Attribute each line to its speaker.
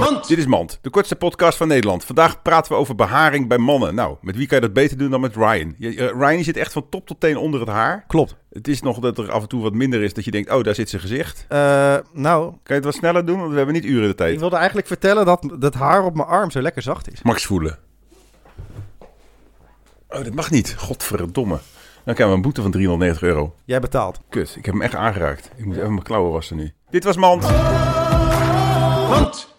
Speaker 1: Mand.
Speaker 2: Dit is Mand, de kortste podcast van Nederland. Vandaag praten we over beharing bij mannen. Nou, met wie kan je dat beter doen dan met Ryan? Je, eh, Ryan die zit echt van top tot teen onder het haar.
Speaker 1: Klopt.
Speaker 2: Het is nog dat er af en toe wat minder is dat je denkt, oh, daar zit zijn gezicht.
Speaker 1: Eh, nou,
Speaker 2: Kan je het wat sneller doen? Want we hebben niet uren de
Speaker 1: ik
Speaker 2: tijd.
Speaker 1: wilde eigenlijk vertellen dat dat haar op mijn arm zo lekker zacht is.
Speaker 2: Max voelen. Oh, dat mag niet. Godverdomme. Dan krijgen we een boete van 390 euro.
Speaker 1: Jij betaalt.
Speaker 2: Kut, ik heb hem echt aangeraakt. Ik moet even mijn klauwen wassen nu. Dit was Mand.
Speaker 1: Mand.